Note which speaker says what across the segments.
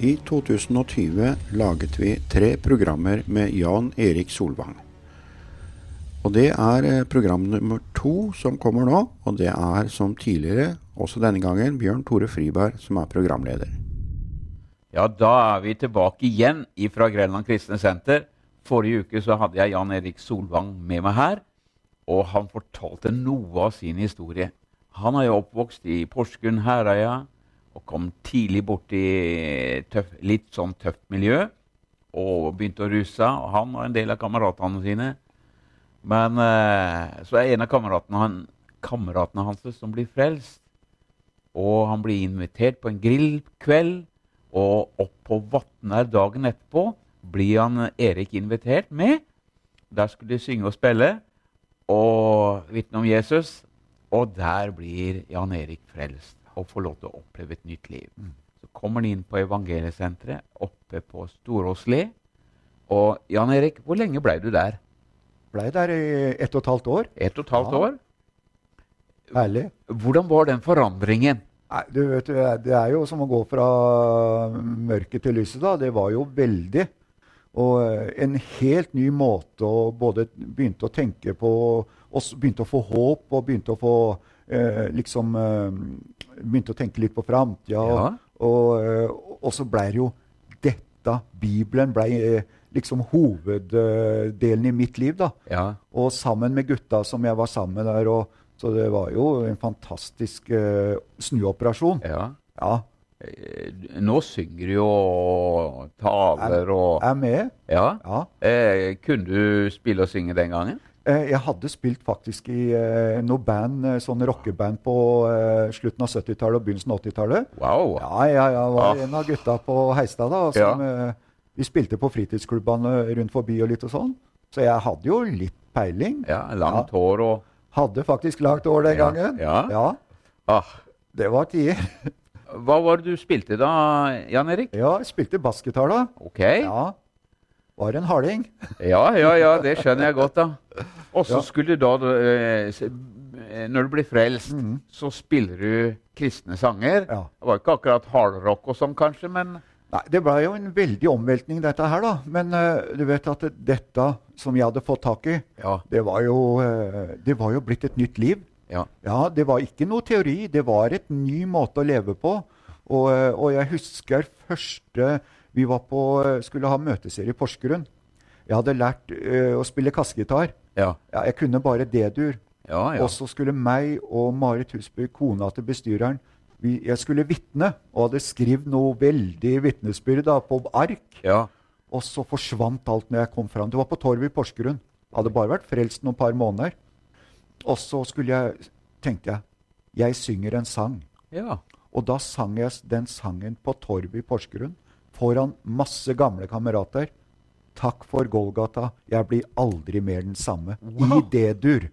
Speaker 1: I 2020 laget vi tre programmer med Jan Erik Solvang. Og det er eh, program nummer to som kommer nå, og det er som tidligere, også denne gangen, Bjørn Tore Friberg som er programleder.
Speaker 2: Ja, da er vi tilbake igjen fra Grenland Kristne Senter. Forrige uke så hadde jeg Jan Erik Solvang med meg her, og han fortalte noe av sin historie. Han er jo oppvokst i Porsgrunn, Herøya, og kom tidlig borti tøff, litt sånn tøft miljø. Og begynte å ruse seg, og han og en del av kameratene sine. Men eh, så er en av kameratene, han, kameratene hans som blir frelst. Og han blir invitert på en grillkveld. Og opp på Vatnar dagen etterpå blir han eh, Erik invitert med. Der skulle de synge og spille og vitne om Jesus. Og der blir Jan Erik frelst og får lov til å oppleve et nytt liv. Så kommer han inn på evangeliesenteret oppe på Storåsli. Og Jan Erik, hvor lenge blei du der?
Speaker 3: Blei der i ett og et halvt år.
Speaker 2: Ett og et halvt
Speaker 3: Ja.
Speaker 2: år?
Speaker 3: Herlig.
Speaker 2: Hvordan var den forandringen?
Speaker 3: Nei, du vet, Det er jo som å gå fra mørket til lyset, da. Det var jo veldig. Og eh, en helt ny måte å både begynte å tenke på og s- begynte å få håp og begynte å få eh, liksom eh, Begynte å tenke litt på framtida.
Speaker 2: Ja.
Speaker 3: Og, eh, og så blei det jo dette. Bibelen blei eh, liksom hoveddelen i mitt liv, da.
Speaker 2: Ja.
Speaker 3: Og sammen med gutta som jeg var sammen med der. Og, så det var jo en fantastisk eh, snuoperasjon.
Speaker 2: ja.
Speaker 3: Ja.
Speaker 2: Eh, Nå synger du jo og taler og
Speaker 3: Er med.
Speaker 2: Ja.
Speaker 3: Ja.
Speaker 2: Eh, kunne du spille og synge den gangen?
Speaker 3: Eh, jeg hadde spilt faktisk i eh, noe band, eh, sånn rockeband på eh, slutten av 70-tallet og begynnelsen av 80-tallet.
Speaker 2: Wow.
Speaker 3: Ja, ja, ja, jeg var
Speaker 2: Ah.
Speaker 3: en av gutta på Heistad da. Som, eh, vi spilte på fritidsklubbene rundt forbi og litt og sånn. Så jeg hadde jo litt peiling.
Speaker 2: Ja, Langt hår og
Speaker 3: Hadde faktisk langt år den
Speaker 2: Ja,
Speaker 3: gangen.
Speaker 2: ja.
Speaker 3: ja.
Speaker 2: ah.
Speaker 3: Det var tider.
Speaker 2: Hva var det du spilte da, Jan Erik?
Speaker 3: Ja, jeg spilte bassgitar da.
Speaker 2: OK.
Speaker 3: Ja. Var en harding.
Speaker 2: Ja, ja, ja, det skjønner jeg godt, da. Og så
Speaker 3: Ja.
Speaker 2: skulle du da eh, s- eh, Når du blir frelst, så spiller du kristne sanger.
Speaker 3: Ja.
Speaker 2: Det var ikke akkurat hardrock og sånn, kanskje, men
Speaker 3: Nei, det ble jo en veldig omveltning, dette her, da. Men eh, du vet at dette som jeg hadde fått tak i,
Speaker 2: Ja.
Speaker 3: det var jo, eh, det var jo blitt et nytt liv.
Speaker 2: Ja.
Speaker 3: Ja, det var ikke noe teori. Det var et ny måte å leve på. Og, eh, og jeg husker første vi var på, eh, skulle ha møteserie i Porsgrunn. Jeg hadde lært eh, å spille kassegitar.
Speaker 2: Ja.
Speaker 3: Ja, jeg kunne bare D-dur.
Speaker 2: Ja, Ah, ja.
Speaker 3: Og så skulle meg og Marit Husby, kona til bestyreren, vi, jeg skulle vitne. Og hadde skrevet noe veldig vitnesbyrd da, på ark.
Speaker 2: ja.
Speaker 3: Og så forsvant alt når jeg kom fram. Det var på Torvet i Porsgrunn. Hadde bare vært frelst noen par måneder. Og så skulle jeg, tenkte jeg, jeg synger en sang.
Speaker 2: ja.
Speaker 3: Og da sang jeg s- den sangen på Torvet i Porsgrunn foran masse gamle kamerater. Takk for Golgata, jeg blir aldri mer den samme. I D-dur.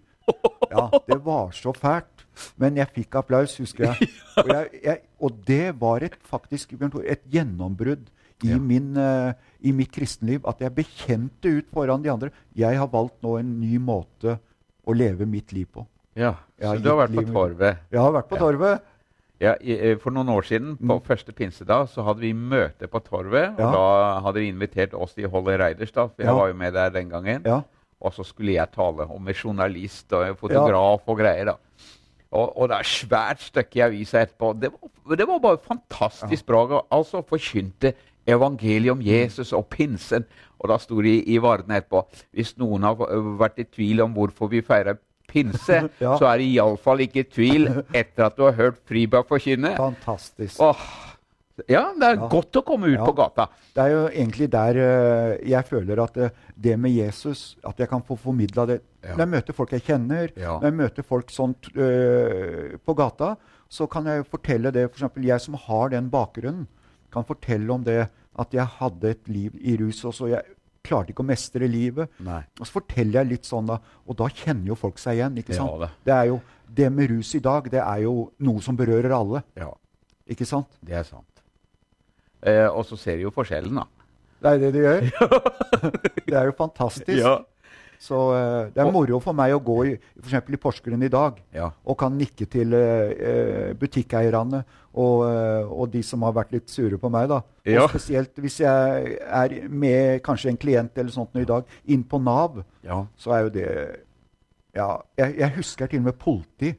Speaker 3: Ja, det var så fælt. Men jeg fikk applaus, husker jeg. Og, jeg, jeg, og det var et, faktisk Bjørn Tore, et gjennombrudd i,
Speaker 2: Ja.
Speaker 3: min, eh, i mitt kristenliv. At jeg bekjente ut foran de andre. Jeg har valgt nå en ny måte å leve mitt liv på.
Speaker 2: ja.
Speaker 3: Jeg har
Speaker 2: Så du har
Speaker 3: gitt
Speaker 2: vært på
Speaker 3: livet-
Speaker 2: Torvet?
Speaker 3: Jeg har vært på Torvet.
Speaker 2: Ja, i- eh, For noen år siden, på første pinsedag, så hadde vi møte på Torvet.
Speaker 3: Mm. Ja.
Speaker 2: og Da hadde de invitert oss til Holly Reiders, da, for jeg
Speaker 3: Ja.
Speaker 2: var jo med der den gangen.
Speaker 3: Ja.
Speaker 2: Og så skulle jeg tale om en journalist og en fotograf og greier. da. Og, og det er svært stykke i avisa etterpå. Det var, det var bare fantastisk bra. Altså forkynte evangeliet om Jesus og pinsen. Og da sto det i, i varene etterpå Hvis noen har øh, vært i tvil om hvorfor vi feirer pinse,
Speaker 3: Ja.
Speaker 2: så er det iallfall ikke i tvil etter at du har hørt Friberg forkynne.
Speaker 3: Fantastisk.
Speaker 2: Åh, ja, det er
Speaker 3: Ja.
Speaker 2: godt å komme ut
Speaker 3: Ja.
Speaker 2: på gata.
Speaker 3: Det er jo egentlig der eh, jeg føler at eh, det med Jesus At jeg kan få formidla det.
Speaker 2: Ja.
Speaker 3: Når jeg møter folk jeg kjenner,
Speaker 2: Ja.
Speaker 3: når jeg møter folk sånt eh, på gata, så kan jeg fortelle det. For eksempel jeg som har den bakgrunnen, kan fortelle om det at jeg hadde et liv i rus også. Jeg klarte ikke å mestre livet.
Speaker 2: Nei.
Speaker 3: Og så forteller jeg litt sånn, da. Og da kjenner jo folk seg igjen. ikke
Speaker 2: Ja,
Speaker 3: sant?
Speaker 2: det.
Speaker 3: det er jo det med rus i dag, det er jo noe som berører alle.
Speaker 2: Ja,
Speaker 3: Ikke sant?
Speaker 2: det er sant. Eh, og så ser du jo forskjellen, da.
Speaker 3: Det er det det gjør. det er jo fantastisk.
Speaker 2: Ja.
Speaker 3: Så eh, det er
Speaker 2: Og-
Speaker 3: moro for meg å gå i, for eksempel i Porsgrunn i dag
Speaker 2: Ja.
Speaker 3: og kan nikke til eh, eh, butikkeierne og, eh, og de som har vært litt sure på meg. da.
Speaker 2: Ja.
Speaker 3: Og spesielt hvis jeg er med kanskje en klient eller sånt nå i dag inn på Nav,
Speaker 2: Ja.
Speaker 3: så er jo det Ja, jeg, jeg husker til og med politi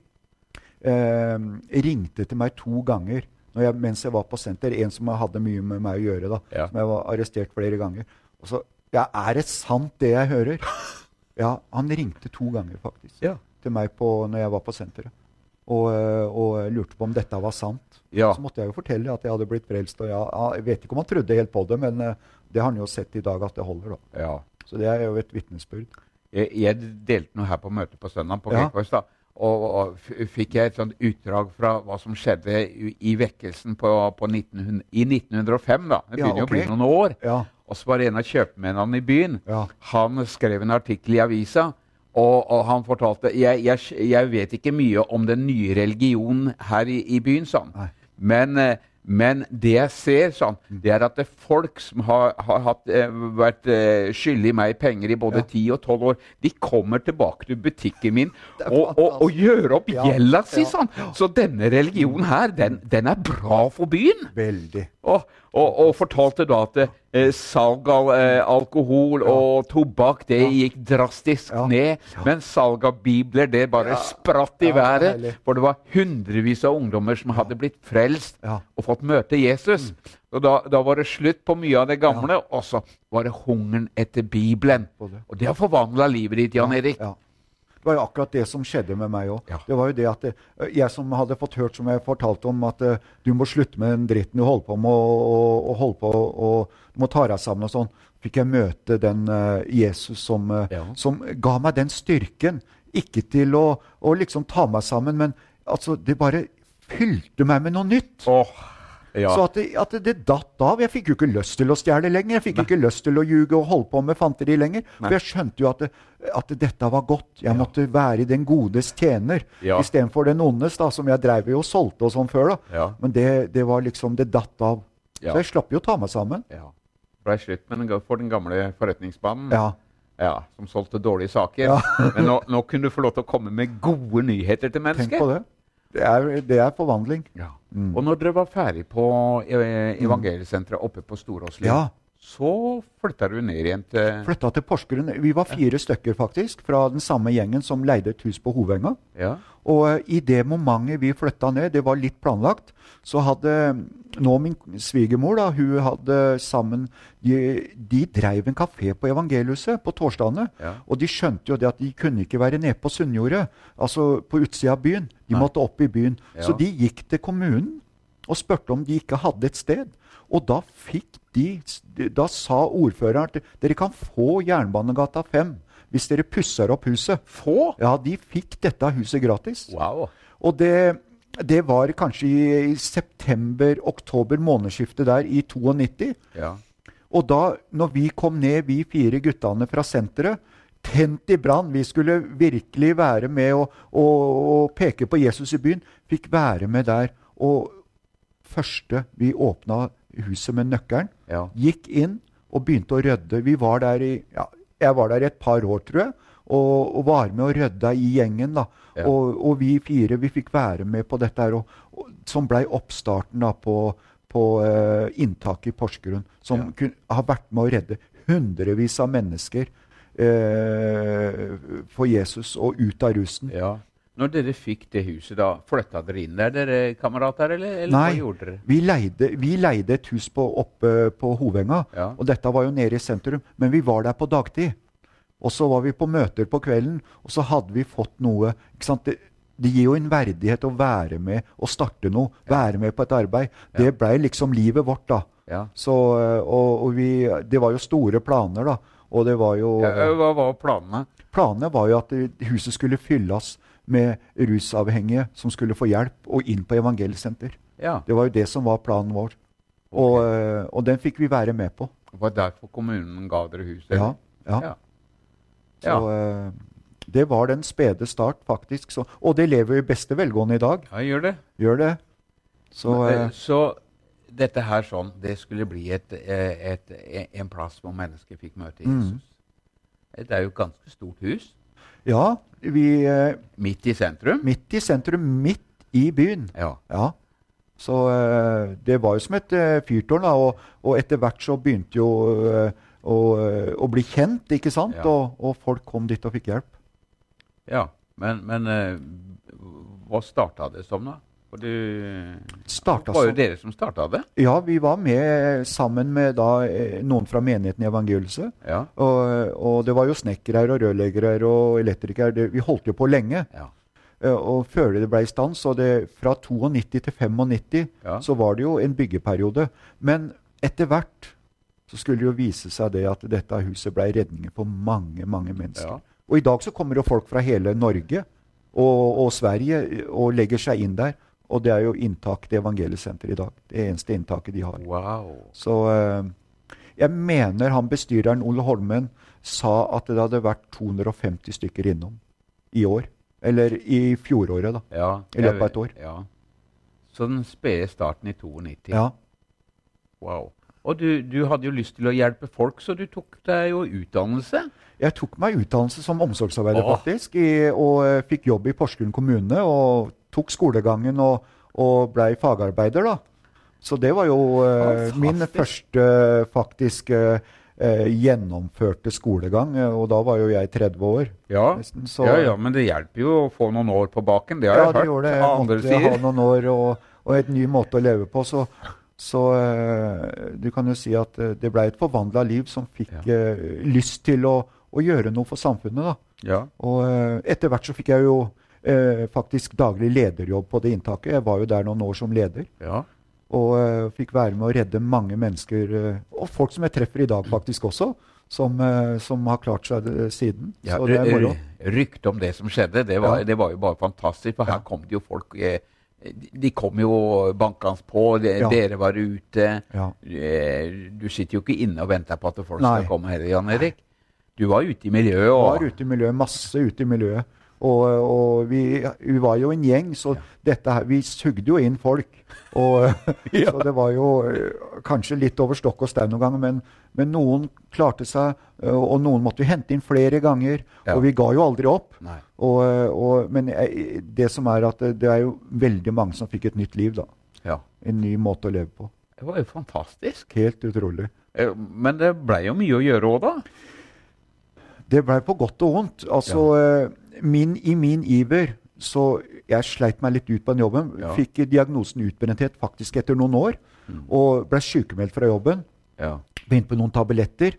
Speaker 3: eh, ringte til meg to ganger når jeg, mens jeg var på senter. En som hadde mye med meg å gjøre, da.
Speaker 2: Ja.
Speaker 3: Som jeg var arrestert flere ganger. Og så Ja, er det sant, det jeg hører? Ja, han ringte to ganger, faktisk
Speaker 2: Ja.
Speaker 3: til meg på, når jeg var på senteret. Og, øh, og lurte på om dette var sant.
Speaker 2: Ja.
Speaker 3: Så måtte jeg jo fortelle at jeg hadde blitt frelst. Og jeg, jeg vet ikke om han trodde helt på det, men øh, det har han jo sett i dag at det holder. da.
Speaker 2: ja.
Speaker 3: Så det er jo et vitnesbyrd.
Speaker 2: Jeg, jeg delte noe her på møtet på søndag på
Speaker 3: Ja.
Speaker 2: Kirkvags, da, og, og f- fikk jeg et sånt utdrag fra hva som skjedde i, i vekkelsen på, på 1900, i 1905. da. Det
Speaker 3: Ja,
Speaker 2: begynner jo å bli
Speaker 3: ok.
Speaker 2: noen år.
Speaker 3: Ja.
Speaker 2: Og så var det en av kjøpmennene i byen.
Speaker 3: Ja.
Speaker 2: Han skrev en artikkel i avisa. Og, og han fortalte jeg, jeg, jeg vet ikke mye om den nye religionen her i, i byen, sa
Speaker 3: Nei. Mm.
Speaker 2: han. Men, eh, men det jeg ser, sa han, det er at det er folk som har, har hatt, eh, vært eh, skyldig meg penger i både 10 og 12 år, de kommer tilbake til butikken min
Speaker 3: Det er
Speaker 2: og, og, og gjør opp
Speaker 3: Ja,
Speaker 2: gjelda si,
Speaker 3: ja.
Speaker 2: sa han. Så denne religionen her, den, den er bra for byen.
Speaker 3: Veldig.
Speaker 2: Og, og, og fortalte da at eh, salg av eh, alkohol og tobakk det gikk drastisk
Speaker 3: Ja.
Speaker 2: ned. Men salg av bibler det bare spratt i
Speaker 3: Ja,
Speaker 2: været.
Speaker 3: herlig.
Speaker 2: For det var hundrevis av ungdommer som hadde blitt frelst
Speaker 3: Ja. Mm.
Speaker 2: og fått møte Jesus. Og da, da var det slutt på mye av det gamle, og så var det hungeren etter Bibelen.
Speaker 3: Både.
Speaker 2: Og det har forvandla livet ditt, Jan Erik.
Speaker 3: Ja. Det var jo akkurat det som skjedde med meg òg.
Speaker 2: Ja.
Speaker 3: Det var jo det at eh, jeg som hadde fått hørt som jeg fortalte om, at eh, du må slutte med den dritten du holder på med, og, og, og holde på og du må ta deg sammen og sånn, fikk jeg møte den eh, Jesus som, eh,
Speaker 2: Ja.
Speaker 3: som ga meg den styrken. Ikke til å, å liksom ta meg sammen, men altså, det bare fylte meg med noe nytt.
Speaker 2: Åh, ja.
Speaker 3: Så at det, at det datt av. Jeg fikk jo ikke lyst til å stjele lenger. Jeg fikk ikke lyst til å ljuge og holde på med fanteri lenger. For jeg skjønte jo at, det, at dette var godt. Jeg måtte være den godes tjener
Speaker 2: Ja.
Speaker 3: istedenfor den ondes, da, som jeg dreiv jo og solgte og sånn før. da.
Speaker 2: Ja.
Speaker 3: Men det, det var liksom Det datt av.
Speaker 2: Ja.
Speaker 3: Så jeg slapp jo å ta meg sammen.
Speaker 2: ja. Blei slutt med den, ga- for den gamle forretningsmannen.
Speaker 3: Ja.
Speaker 2: Ja, som solgte dårlige saker. Men nå, nå kunne du få lov til å komme med gode nyheter til mennesker.
Speaker 3: Tenk på det. Mm. Det er, det er forvandling.
Speaker 2: Ja. Og når dere var ferdig på eh, evangeliesenteret oppe på Storåsli,
Speaker 3: Mm. Ja.
Speaker 2: så flytta du ned igjen til
Speaker 3: Flytta til Porsgrunn. Vi var fire stykker, faktisk, fra den samme gjengen som leide et hus på Hovenga.
Speaker 2: ja.
Speaker 3: Og eh, i det momentet vi flytta ned, det var litt planlagt, så hadde mm, nå min svigermor da, hun hadde sammen De, de dreiv en kafé på Evangeliuset på torsdagene.
Speaker 2: Ja.
Speaker 3: Og de skjønte jo det at de kunne ikke være nede på Sunnjordet, altså på utsida av byen. De måtte opp i byen.
Speaker 2: Ja.
Speaker 3: Så de gikk til kommunen og spurte om de ikke hadde et sted. Og da fikk de Da sa ordføreren at dere kan få Jernbanegata 5 hvis dere pusser opp huset.
Speaker 2: Få?
Speaker 3: Ja, de fikk dette huset gratis.
Speaker 2: Wow.
Speaker 3: Og det, det var kanskje i, i september-oktober månedsskiftet der i 92.
Speaker 2: Ja.
Speaker 3: Og da, når vi kom ned, vi fire guttene fra senteret, tent i brann, vi skulle virkelig være med og, og, og peke på Jesus i byen, fikk være med der. Og første vi åpna huset med nøkkelen,
Speaker 2: Ja.
Speaker 3: gikk inn og begynte å rydde. Vi var der i ja, Jeg var der i et par år, tror jeg, og, og var med og rydda i gjengen. da.
Speaker 2: Ja.
Speaker 3: Og, og vi fire vi fikk være med på dette her, og, og, som blei oppstarten da på, på eh, inntaket i Porsgrunn. Som
Speaker 2: Ja.
Speaker 3: kun, har vært med å redde hundrevis av mennesker eh, for Jesus og ut av rusen.
Speaker 2: ja. Når dere fikk det huset, da, flytta dere inn der, dere kamerater, eller, eller hva gjorde dere?
Speaker 3: vi leide, vi leide et hus på, oppe på Hovenga,
Speaker 2: Ja.
Speaker 3: og dette var jo nede i sentrum, men vi var der på dagtid. Og så var vi på møter på kvelden, og så hadde vi fått noe ikke sant? Det, det gir jo en verdighet å være med og starte noe, være med på et arbeid. Det blei liksom livet vårt, da.
Speaker 2: Ja.
Speaker 3: Så, øh, og, og vi, det var jo store planer, da. Og det var jo
Speaker 2: Ja, ø, Hva var planene?
Speaker 3: Planene var jo at eh, huset skulle fylles med rusavhengige som skulle få hjelp, og inn på evangelsenter.
Speaker 2: Ja.
Speaker 3: Det var jo det som var planen vår. Og, eh, og den fikk vi være med på.
Speaker 2: Det var derfor kommunen ga dere huset?
Speaker 3: Ja, ja.
Speaker 2: Ja.
Speaker 3: Så eh, det var den spede start, faktisk. Så, og det lever i beste velgående i dag.
Speaker 2: ja gjør det.
Speaker 3: Gjør det? Så
Speaker 2: Eh,
Speaker 3: eh,
Speaker 2: Så dette her eh,
Speaker 3: Mm.
Speaker 2: sånn, det skulle bli et, eh, et, e- en plass hvor mennesker fikk møte Jesus. Det er jo et ganske stort hus.
Speaker 3: Ja, vi eh,
Speaker 2: Midt i sentrum.
Speaker 3: Midt i sentrum, midt i byen.
Speaker 2: Ja.
Speaker 3: Ja. Så eh, det var jo som et eh, fyrtårn, da. Og, og etter hvert så begynte jo eh, å, eh, å bli kjent, ikke sant?
Speaker 2: Ja.
Speaker 3: Og, og folk kom dit og fikk hjelp.
Speaker 2: ja. Men, men eh, hva starta det som, da? For du Det
Speaker 3: Starta
Speaker 2: var jo
Speaker 3: så.
Speaker 2: dere som starta det.
Speaker 3: Ja, vi var med eh, sammen med da, eh, noen fra menigheten i evangeliet.
Speaker 2: Ja.
Speaker 3: Og, og det var jo snekkere og rørleggere og elektrikere. Det, vi holdt jo på lenge.
Speaker 2: Ja.
Speaker 3: eh, Og før det ble i stand, så det, fra 92 til 95
Speaker 2: Ja.
Speaker 3: så var det jo en byggeperiode. Men etter hvert så skulle det jo vise seg det at dette huset ble redningen for mange, mange mennesker.
Speaker 2: Ja.
Speaker 3: Og i dag så kommer jo folk fra hele Norge og, og Sverige og legger seg inn der. Og det er jo inntak til evangeliesenteret i dag. Det eneste inntaket de har.
Speaker 2: Wow.
Speaker 3: Så eh, jeg mener han bestyreren Ole Holmen sa at det hadde vært 250 stykker innom i år. Eller i fjoråret, da.
Speaker 2: Ja,
Speaker 3: I løpet av et år.
Speaker 2: Ja. Så den spede starten i 92.
Speaker 3: Ja.
Speaker 2: Wow. Og du, du hadde jo lyst til å hjelpe folk, så du tok deg jo utdannelse.
Speaker 3: Jeg tok meg utdannelse som omsorgsarbeider,
Speaker 2: Åh.
Speaker 3: faktisk. I, og eh, fikk jobb i Porsgrunn kommune. Og tok skolegangen og, og blei fagarbeider, da. Så det var jo eh,
Speaker 2: Fantastisk.
Speaker 3: min første faktisk eh, eh, gjennomførte skolegang. eh, Og da var jo jeg 30 år.
Speaker 2: Ja.
Speaker 3: Nesten, så-
Speaker 2: ja, ja, men det hjelper jo å få noen år på baken. Det har
Speaker 3: Ja,
Speaker 2: jeg
Speaker 3: det
Speaker 2: hørt
Speaker 3: gjorde det. Jeg
Speaker 2: andre
Speaker 3: måtte
Speaker 2: sier.
Speaker 3: ha noen år og, og et ny måte å leve på. Så, så eh, du kan jo si at eh, det ble et forvandla liv som fikk
Speaker 2: Ja.
Speaker 3: eh, lyst til å, å gjøre noe for samfunnet. da.
Speaker 2: Ja.
Speaker 3: Og eh, etter hvert så fikk jeg jo eh, faktisk daglig lederjobb på det inntaket. Jeg var jo der noen år som leder.
Speaker 2: Ja.
Speaker 3: Og eh, fikk være med å redde mange mennesker, eh, og folk som jeg treffer i dag faktisk også, som, eh, som har klart seg eh, siden.
Speaker 2: Ja,
Speaker 3: så det er moro.
Speaker 2: Ryktet om det som skjedde, det var,
Speaker 3: Ja.
Speaker 2: det var jo bare fantastisk. For her kom det jo folk eh, De de kom jo bankende på, de,
Speaker 3: Ja.
Speaker 2: dere var ute.
Speaker 3: Ja.
Speaker 2: Eh, Du sitter jo ikke inne og venter på at folk
Speaker 3: Nei.
Speaker 2: skal komme heller, Jan Erik. Du var ute i miljøet
Speaker 3: var
Speaker 2: og
Speaker 3: ute i miljøet, masse ute i miljøet. Og, og vi, vi var jo en gjeng, så dette her, vi sugde jo inn folk. Og, Så det var jo eh, kanskje litt over stokk og stein noen ganger, men, men noen klarte seg, eh, og noen måtte vi hente inn flere ganger.
Speaker 2: Ja.
Speaker 3: Og vi ga jo aldri opp.
Speaker 2: Nei.
Speaker 3: Og, eh, og, men jeg- det som er at eh, det er jo veldig mange som fikk et nytt liv, da.
Speaker 2: Ja.
Speaker 3: En ny måte å leve på.
Speaker 2: Det var jo fantastisk.
Speaker 3: Helt utrolig.
Speaker 2: Eh, Men det blei jo mye å gjøre òg, da.
Speaker 3: Det blei på godt og vondt. Altså, eh, min, I min iver så Jeg sleit meg litt ut på den jobben.
Speaker 2: Ja.
Speaker 3: Fikk diagnosen utbrenthet faktisk etter noen år. Og blei sykemeldt fra jobben.
Speaker 2: Ja.
Speaker 3: Begynte på noen tabletter.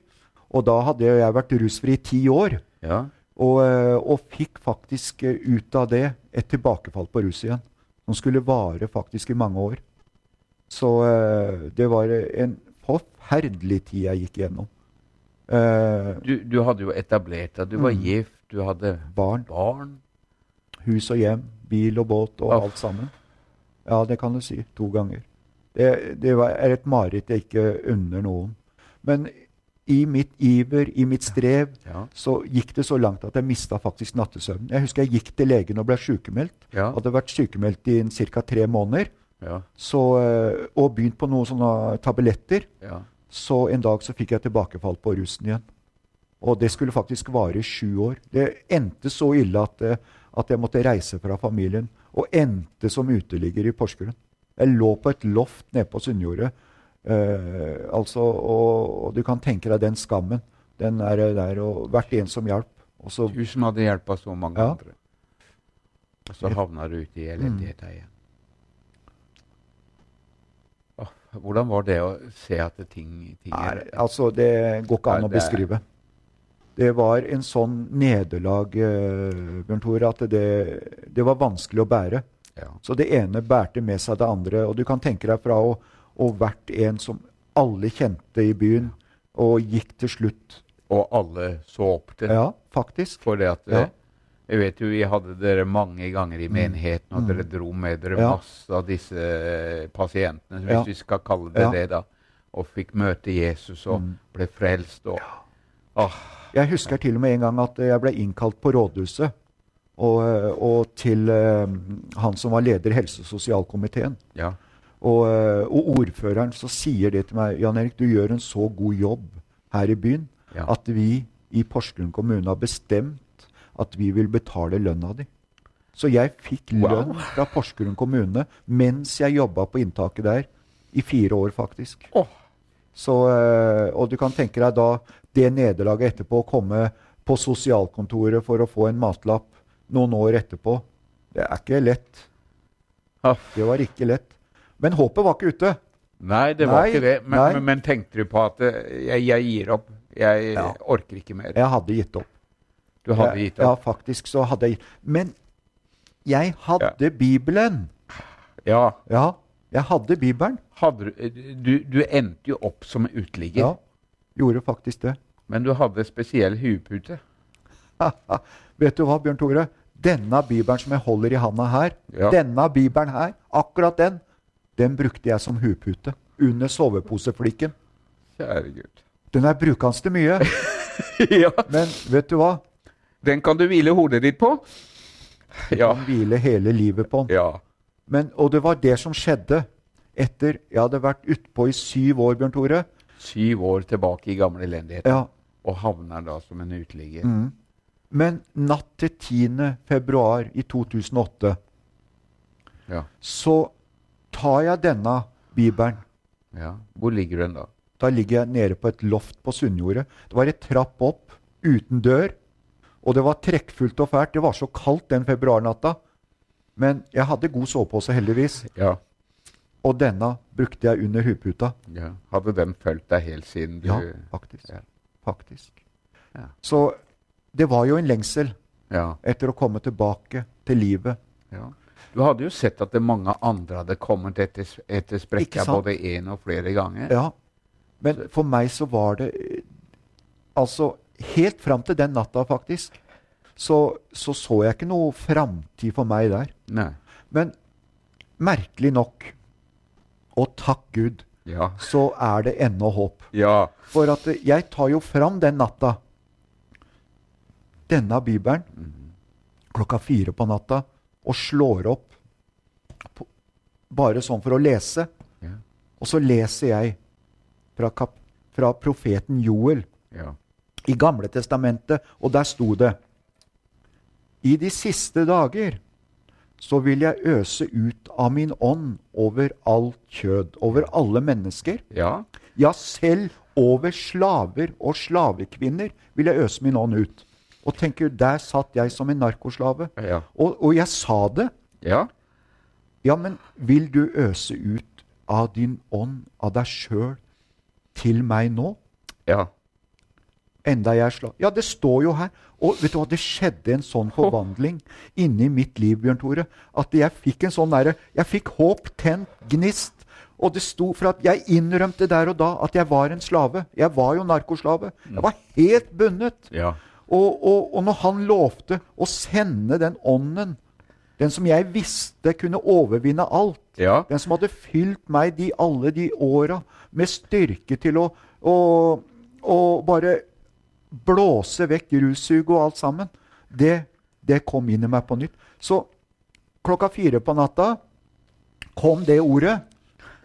Speaker 3: Og da hadde jeg vært rusfri i ti år.
Speaker 2: ja.
Speaker 3: Og, eh, og fikk faktisk eh, ut av det et tilbakefall på rus igjen. Som skulle vare faktisk i mange år. Så eh, det var en forferdelig tid jeg gikk igjennom. Eh,
Speaker 2: Du, du hadde jo etablert deg. Du var gift, du hadde
Speaker 3: barn.
Speaker 2: barn.
Speaker 3: hus og hjem, bil og båt og
Speaker 2: Uff.
Speaker 3: alt sammen. Ja, det kan du si. To ganger. Det, det var, er et mareritt jeg ikke unner noen. Men i mitt iver, i mitt strev,
Speaker 2: Ja.
Speaker 3: så gikk det så langt at jeg mista faktisk nattesøvnen. Jeg husker jeg gikk til legen og ble sykemeldt.
Speaker 2: Ja.
Speaker 3: Hadde vært sykemeldt i ca. tre måneder
Speaker 2: Ja.
Speaker 3: så, eh, og begynt på noen sånne tabletter.
Speaker 2: ja.
Speaker 3: Så en dag så fikk jeg tilbakefall på rusen igjen. Og det skulle faktisk vare i sju år. Det endte så ille at, eh, at jeg måtte reise fra familien. Og endte som uteligger i Porsgrunn. Jeg lå på et loft nede på Sunnjordet. Eh, altså, og, og du kan tenke deg den skammen. Den er eh, der, og hvert en som hjalp. Og så
Speaker 2: Du som hadde hjelpa så mange
Speaker 3: Ja.
Speaker 2: andre. Og så havna du ute i elendigheta igjen. Åh, hvordan var det å se at det ting, ting
Speaker 3: Nei, altså Det går ikke an
Speaker 2: Nei,
Speaker 3: å
Speaker 2: det-
Speaker 3: beskrive. Det var en sånn nederlag, eh, Bjørn Tore, at det, det var vanskelig å bære.
Speaker 2: ja.
Speaker 3: Så det ene bærte med seg det andre. Og du kan tenke deg fra å, å vært en som alle kjente i byen, og gikk til slutt
Speaker 2: Og alle så opp til
Speaker 3: Ja, faktisk.
Speaker 2: For det at
Speaker 3: Ja. Mm.
Speaker 2: eh, Jeg vet jo, vi hadde dere mange ganger i menigheten, og dere dro med dere
Speaker 3: Ja.
Speaker 2: masse av disse eh, pasientene, hvis
Speaker 3: Ja.
Speaker 2: vi skal kalle det
Speaker 3: Ja. Mm.
Speaker 2: det, da. Og fikk møte Jesus og ble frelst og Åh,
Speaker 3: Jeg husker til og med en gang at eh, jeg ble innkalt på rådhuset. Og, eh, og til eh, han som var leder i helse- og sosialkomiteen.
Speaker 2: ja.
Speaker 3: Og, eh, og ordføreren så sier det til meg Jan Erik, du gjør en så god jobb her i byen
Speaker 2: Ja.
Speaker 3: at vi i Porsgrunn kommune har bestemt at vi vil betale lønna di. Så jeg fikk
Speaker 2: Wow.
Speaker 3: lønn fra Porsgrunn kommune mens jeg jobba på inntaket der i fire år, faktisk.
Speaker 2: Åh.
Speaker 3: Så, eh, og du kan tenke deg da det nederlaget etterpå å komme på sosialkontoret for å få en matlapp noen år etterpå. Det er ikke lett.
Speaker 2: Aff.
Speaker 3: Det var ikke lett. Men håpet var ikke ute.
Speaker 2: Nei, det var
Speaker 3: Nei,
Speaker 2: ikke det. Men,
Speaker 3: nei.
Speaker 2: men, men tenkte du på at eh, jeg, jeg gir opp? Jeg
Speaker 3: Ja.
Speaker 2: orker ikke mer.
Speaker 3: Jeg hadde gitt opp.
Speaker 2: Du hadde gitt
Speaker 3: Ja,
Speaker 2: opp?
Speaker 3: faktisk så hadde jeg gitt Men jeg hadde Bibelen.
Speaker 2: Ja.
Speaker 3: Ja, jeg hadde Bibelen.
Speaker 2: Hadde, du- eh, du, du endte jo opp som uteligger,
Speaker 3: Ja, gjorde faktisk det.
Speaker 2: men du hadde spesiell huepute.
Speaker 3: Vet du hva, Bjørn Tore? Denne bibelen som jeg holder i handa her,
Speaker 2: Ja.
Speaker 3: denne bibelen her, akkurat den, den brukte jeg som hupute under soveposefliken.
Speaker 2: Kjære Gud.
Speaker 3: Den er brukende til mye,
Speaker 2: ja.
Speaker 3: men vet du hva?
Speaker 2: Den kan du hvile hodet ditt på. Ja.
Speaker 3: Den hviler hele livet på den.
Speaker 2: ja.
Speaker 3: Men, og det var det som skjedde etter jeg hadde vært utpå i syv år, Bjørn Tore.
Speaker 2: Syv år tilbake i gammel elendighet,
Speaker 3: Ja,
Speaker 2: og havner da som en uteligger.
Speaker 3: Mm. Men natt til 10. februar i 2008
Speaker 2: Ja.
Speaker 3: så tar jeg denne bibelen.
Speaker 2: ja. Hvor ligger den da?
Speaker 3: Da ligger jeg nede på et loft på Sunnjordet. Det var et trapp opp uten dør. Og det var trekkfullt og fælt. Det var så kaldt den februarnatta. Men jeg hadde god sovepose, heldigvis.
Speaker 2: Ja.
Speaker 3: Og denne brukte jeg under huputa.
Speaker 2: ja. Hadde den fulgt deg helt siden du
Speaker 3: Ja, faktisk.
Speaker 2: Ja.
Speaker 3: Faktisk.
Speaker 2: Ja.
Speaker 3: Så det var jo en lengsel
Speaker 2: Ja.
Speaker 3: etter å komme tilbake til livet.
Speaker 2: Ja. Du hadde jo sett at det mange andre hadde kommet etter, etter
Speaker 3: Ikke
Speaker 2: sprekka
Speaker 3: sant?
Speaker 2: både én og flere ganger.
Speaker 3: Ja. Men for meg så var det eh, Altså, helt fram til den natta, faktisk, så så, så jeg ikke noe framtid for meg der.
Speaker 2: Nei.
Speaker 3: Men merkelig nok, og takk Gud,
Speaker 2: Ja.
Speaker 3: så er det ennå håp.
Speaker 2: ja.
Speaker 3: For at eh, jeg tar jo fram den natta denne bibelen klokka fire på natta og slår opp på, bare sånn for å lese.
Speaker 2: Ja.
Speaker 3: Og så leser jeg fra, kap, fra profeten Joel
Speaker 2: ja.
Speaker 3: i Gamle testamentet, og der sto det I de siste dager så vil jeg øse ut av min ånd over alt kjød, over alle mennesker.
Speaker 2: Ja.
Speaker 3: Ja, selv over slaver og slavekvinner vil jeg øse min ånd ut. Og tenker, der satt jeg som en narkoslave.
Speaker 2: Ja.
Speaker 3: Og, og jeg sa det.
Speaker 2: ja.
Speaker 3: Ja, men vil du øse ut av din ånd, av deg sjøl, til meg nå?
Speaker 2: ja.
Speaker 3: Enda jeg er slav Ja, det står jo her. Og vet du hva, det skjedde en sånn forvandling inni mitt liv, Bjørn Tore, at jeg fikk en sånn derre Jeg fikk håp, tent, gnist. Og det sto for at jeg innrømte der og da at jeg var en slave. Jeg var jo narkoslave. Jeg var helt bundet.
Speaker 2: Ja.
Speaker 3: Og, og, og når han lovte å sende den ånden, den som jeg visste kunne overvinne alt,
Speaker 2: Ja.
Speaker 3: den som hadde fylt meg de, alle de åra med styrke til å, å, å bare blåse vekk russuget og alt sammen, det, det kom inn i meg på nytt. Så klokka fire på natta kom det ordet.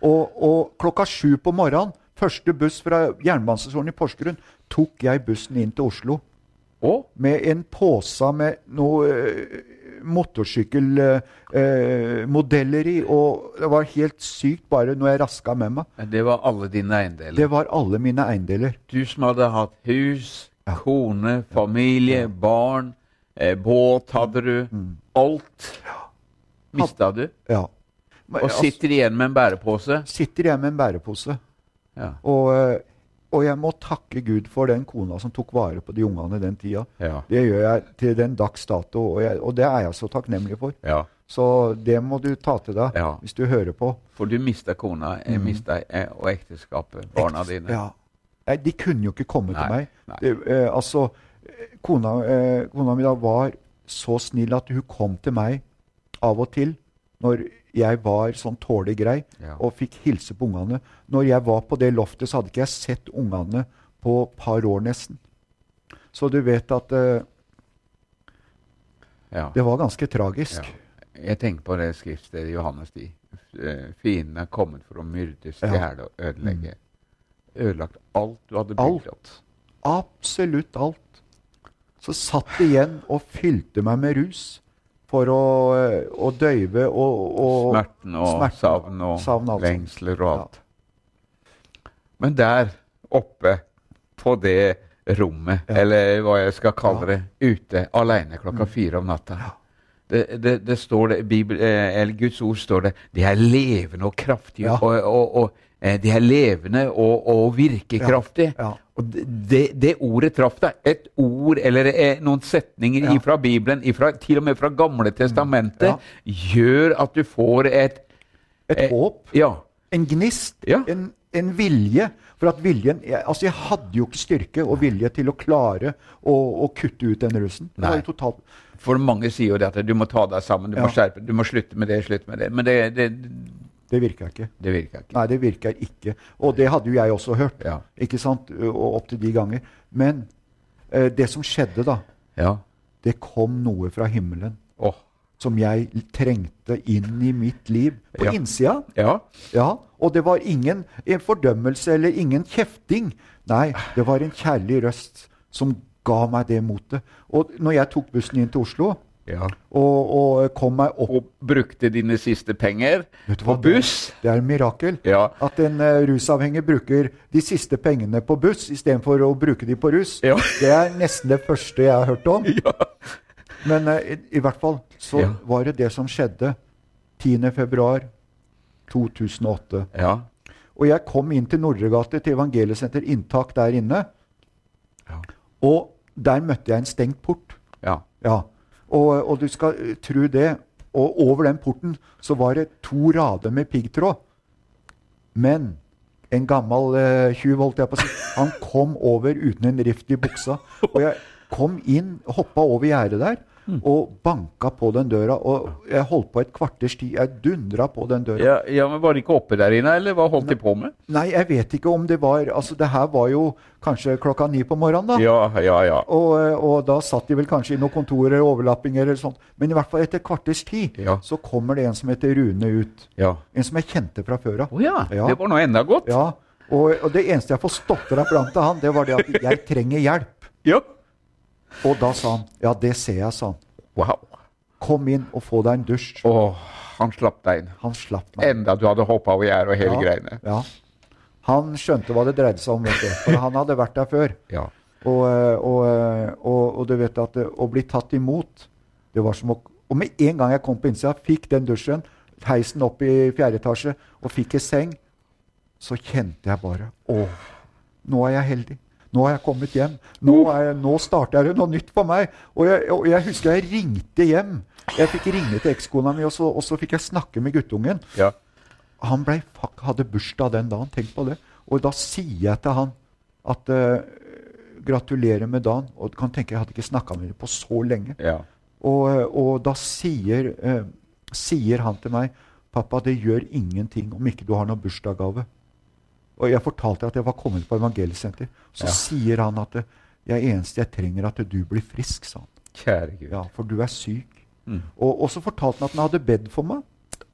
Speaker 3: Og, og klokka sju på morgenen, første buss fra jernbanestasjonen i Porsgrunn, tok jeg bussen inn til Oslo
Speaker 2: Og
Speaker 3: med en pose med noe eh, motorsykkelmodeller eh, i. Og det var helt sykt bare når jeg raska med meg.
Speaker 2: det var alle dine eiendeler.
Speaker 3: Det var alle mine eiendeler.
Speaker 2: Du som hadde hatt hus, kone, familie, barn, eh, båt hadde du. Alt mista du.
Speaker 3: Ja. Men,
Speaker 2: Og sitter igjen med en bærepose.
Speaker 3: altså, sitter jeg med en bærepose.
Speaker 2: Ja.
Speaker 3: Og, eh, og jeg må takke Gud for den kona som tok vare på de ungene den tida.
Speaker 2: Ja.
Speaker 3: Det gjør jeg til den dags dato, og, jeg, og det er jeg så takknemlig for.
Speaker 2: ja.
Speaker 3: Så det må du ta til deg
Speaker 2: Ja.
Speaker 3: hvis du hører på.
Speaker 2: For du mista kona, eh, mista, eh, og ekteskapet, barna dine.
Speaker 3: Ja. Nei, De kunne jo ikke komme
Speaker 2: Nei,
Speaker 3: til meg.
Speaker 2: nei.
Speaker 3: Det, eh, altså, eh, kona, eh, kona mi da var så snill at hun kom til meg av og til når jeg var sånn tålelig grei
Speaker 2: Ja.
Speaker 3: og fikk hilse på ungene. Når jeg var på det loftet, så hadde ikke jeg sett ungene på et par år nesten. Så du vet at eh,
Speaker 2: Ja.
Speaker 3: det var ganske tragisk.
Speaker 2: Ja. Jeg tenker på det skriftstedet i Johannes 10. Eh, Fienden er kommet for å myrde, stjele og ødelegge. Ødelagt alt du hadde bygd
Speaker 3: Alt.
Speaker 2: opp.
Speaker 3: Absolutt alt. Så satt de igjen og fylte meg med rus for å, eh, å døyve og, og
Speaker 2: Smerten og
Speaker 3: smerten,
Speaker 2: savn og
Speaker 3: savn, alt sånt.
Speaker 2: lengsler og alt. Men der oppe på det rommet, eller hva jeg skal kalle det, ute aleine
Speaker 3: Mm.
Speaker 2: klokka fire om natta det, det, det står det, Bibel, eh, eller Guds ord står det De er levende og kraftige.
Speaker 3: Ja.
Speaker 2: Og, og, og, eh, de er levende og, og virkekraftige.
Speaker 3: Ja, ja.
Speaker 2: Og det, det- det ordet traff deg. Et ord eller eh, noen setninger
Speaker 3: Ja.
Speaker 2: fra Bibelen, ifra, til og med fra Gamle testamentet,
Speaker 3: Ja.
Speaker 2: gjør at du får et
Speaker 3: Et
Speaker 2: Eh,
Speaker 3: håp.
Speaker 2: Ja.
Speaker 3: En gnist,
Speaker 2: Ja.
Speaker 3: en, en vilje. For at viljen jeg, Altså, jeg hadde jo ikke styrke og vilje til å klare å, å kutte ut den rusen. Det var
Speaker 2: Nei.
Speaker 3: jo totalt
Speaker 2: For mange sier jo det at du må ta deg sammen, du må
Speaker 3: Ja.
Speaker 2: skjerpe du må slutte med det, slutte med det. Men det, det,
Speaker 3: Det virka ikke.
Speaker 2: det virker ikke.
Speaker 3: Nei, det virker ikke. Og det hadde jo jeg også hørt.
Speaker 2: Ja.
Speaker 3: Ikke sant? Og opp til de ganger. Men eh, det som skjedde, da
Speaker 2: Ja.
Speaker 3: Det kom noe fra himmelen
Speaker 2: Åh.
Speaker 3: som jeg trengte inn i mitt liv. På
Speaker 2: Ja.
Speaker 3: innsida.
Speaker 2: Ja.
Speaker 3: Ja, og det var ingen en fordømmelse eller ingen kjefting. Nei, det var en kjærlig røst som ga meg det motet. Og når jeg tok bussen inn til Oslo
Speaker 2: ja.
Speaker 3: og, og kom meg opp
Speaker 2: Og brukte dine siste penger
Speaker 3: Vet du
Speaker 2: på
Speaker 3: hva, det-
Speaker 2: buss.
Speaker 3: Det er et mirakel.
Speaker 2: Ja.
Speaker 3: At en eh, rusavhengig bruker de siste pengene på buss istedenfor å bruke de på rus.
Speaker 2: Ja.
Speaker 3: Det er nesten det første jeg har hørt om. Men eh, i, i hvert fall så
Speaker 2: Ja.
Speaker 3: var det det som skjedde 10.2.2008.
Speaker 2: Ja.
Speaker 3: Og jeg kom inn til Nordregate, til Evangeliesenter Inntak der inne.
Speaker 2: Ja.
Speaker 3: Og der møtte jeg en stengt port.
Speaker 2: ja.
Speaker 3: Ja. Og, og du skal eh, tro det. Og over den porten så var det to rader med piggtråd. Men en gammel eh, tjuv, holdt jeg på å si, han kom over uten en rift i buksa. Og jeg kom inn, hoppa over gjerdet der og banka på den døra. Og jeg holdt på et kvarters tid. Jeg dundra på den døra.
Speaker 2: ja, ja men Var de ikke oppe der inne, eller hva holdt de på med?
Speaker 3: Nei, jeg vet ikke om det var Altså, det her var jo kanskje klokka ni på morgenen, da.
Speaker 2: Ja, ja, ja.
Speaker 3: Og, eh, og da satt de vel kanskje i noen kontorer, overlappinger eller sånt. Men i hvert fall etter kvarters tid
Speaker 2: Ja.
Speaker 3: så kommer det en som heter Rune ut.
Speaker 2: Ja.
Speaker 3: En som jeg kjente fra før av.
Speaker 2: Å ja.
Speaker 3: Ja.
Speaker 2: Det var nå enda godt.
Speaker 3: Ja, og, og det eneste jeg forståtte deg fram til han, det var det at 'jeg trenger hjelp'.
Speaker 2: Ja.
Speaker 3: Og da sa han 'ja, det ser jeg', sa han.
Speaker 2: Wow.
Speaker 3: 'Kom inn og få deg en dusj'.
Speaker 2: Åh, han slapp deg inn.
Speaker 3: Han slapp meg.
Speaker 2: Enda du hadde hoppa over gjerdet og hele greiene.
Speaker 3: ja. Han skjønte hva det dreide seg om, vet du. For han hadde vært der før.
Speaker 2: Ja.
Speaker 3: Og, eh, og, eh, og, og du vet at eh, å bli tatt imot det var som å, Og med en gang jeg kom på innsida, fikk den dusjen, heisen opp i fjerde etasje og fikk ei seng, så kjente jeg bare Å, nå er jeg heldig. Nå har jeg kommet hjem. Nå, er jeg, nå starter det noe nytt for meg. Og jeg, og jeg husker jeg ringte hjem. Jeg fikk ringe til ekskona mi, og så, og så fikk jeg snakke med guttungen.
Speaker 2: ja.
Speaker 3: Han ble, fuck, hadde bursdag den dagen, tenk på det. Og da sier jeg til han at eh, gratulerer med dagen. Og du kan tenke, jeg hadde ikke snakka med ham på så lenge.
Speaker 2: ja.
Speaker 3: Og, eh, og da sier, eh, sier han til meg Pappa, det gjør ingenting om ikke du har noen bursdagsgave. Og jeg fortalte at jeg var kommet på evangeliesenter. Så
Speaker 2: Ja.
Speaker 3: sier han at eh, jeg eneste jeg trenger, er at du blir frisk, sa han.
Speaker 2: Kjære Gud.
Speaker 3: Ja, for du er syk.
Speaker 2: Mm.
Speaker 3: Og, og så fortalte han at han hadde bedt for meg.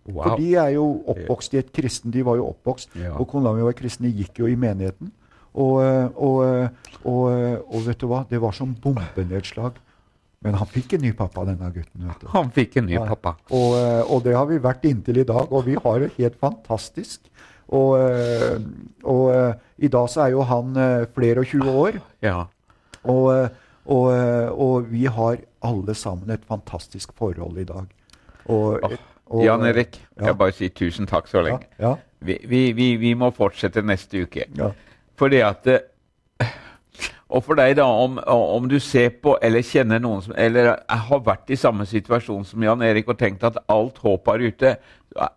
Speaker 2: Wow.
Speaker 3: For de er jo oppvokst i et kristen, de var jo oppvokst.
Speaker 2: Ja.
Speaker 3: Og kona mi var kristen, de gikk jo i menigheten. Og, eh, og, eh, og, eh, og vet du hva, det var som bombenedslag. Men han fikk en ny pappa, denne gutten. vet du.
Speaker 2: Han fikk en ny
Speaker 3: Ja.
Speaker 2: pappa.
Speaker 3: Og, eh, og det har vi vært inntil i dag, og vi har det helt fantastisk. Og, eh, og eh, i dag så er jo han eh, flere og 20 år.
Speaker 2: Ja.
Speaker 3: Og, eh, og, eh, og vi har alle sammen et fantastisk forhold i dag. Og, og-
Speaker 2: Ah,
Speaker 3: eh,
Speaker 2: Jan Erik,
Speaker 3: ja.
Speaker 2: jeg bare sier tusen takk så
Speaker 3: Ja,
Speaker 2: lenge.
Speaker 3: ja,
Speaker 2: Vi, vi, vi, vi må fortsette neste uke.
Speaker 3: ja.
Speaker 2: Fordi at eh, Og for deg, da, om, om du ser på eller kjenner noen som Eller har vært i samme situasjon som Jan Erik og tenkt at alt håp er ute.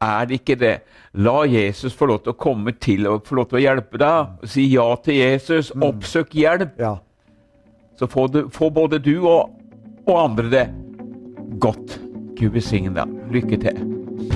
Speaker 2: Er det ikke det? La Jesus få lov til å komme til og få lov til å hjelpe deg. Si ja til Jesus.
Speaker 3: Mm.
Speaker 2: Oppsøk hjelp.
Speaker 3: ja.
Speaker 2: Så får, du, får både du og, og andre det godt. Gud besigne deg. Lykke til.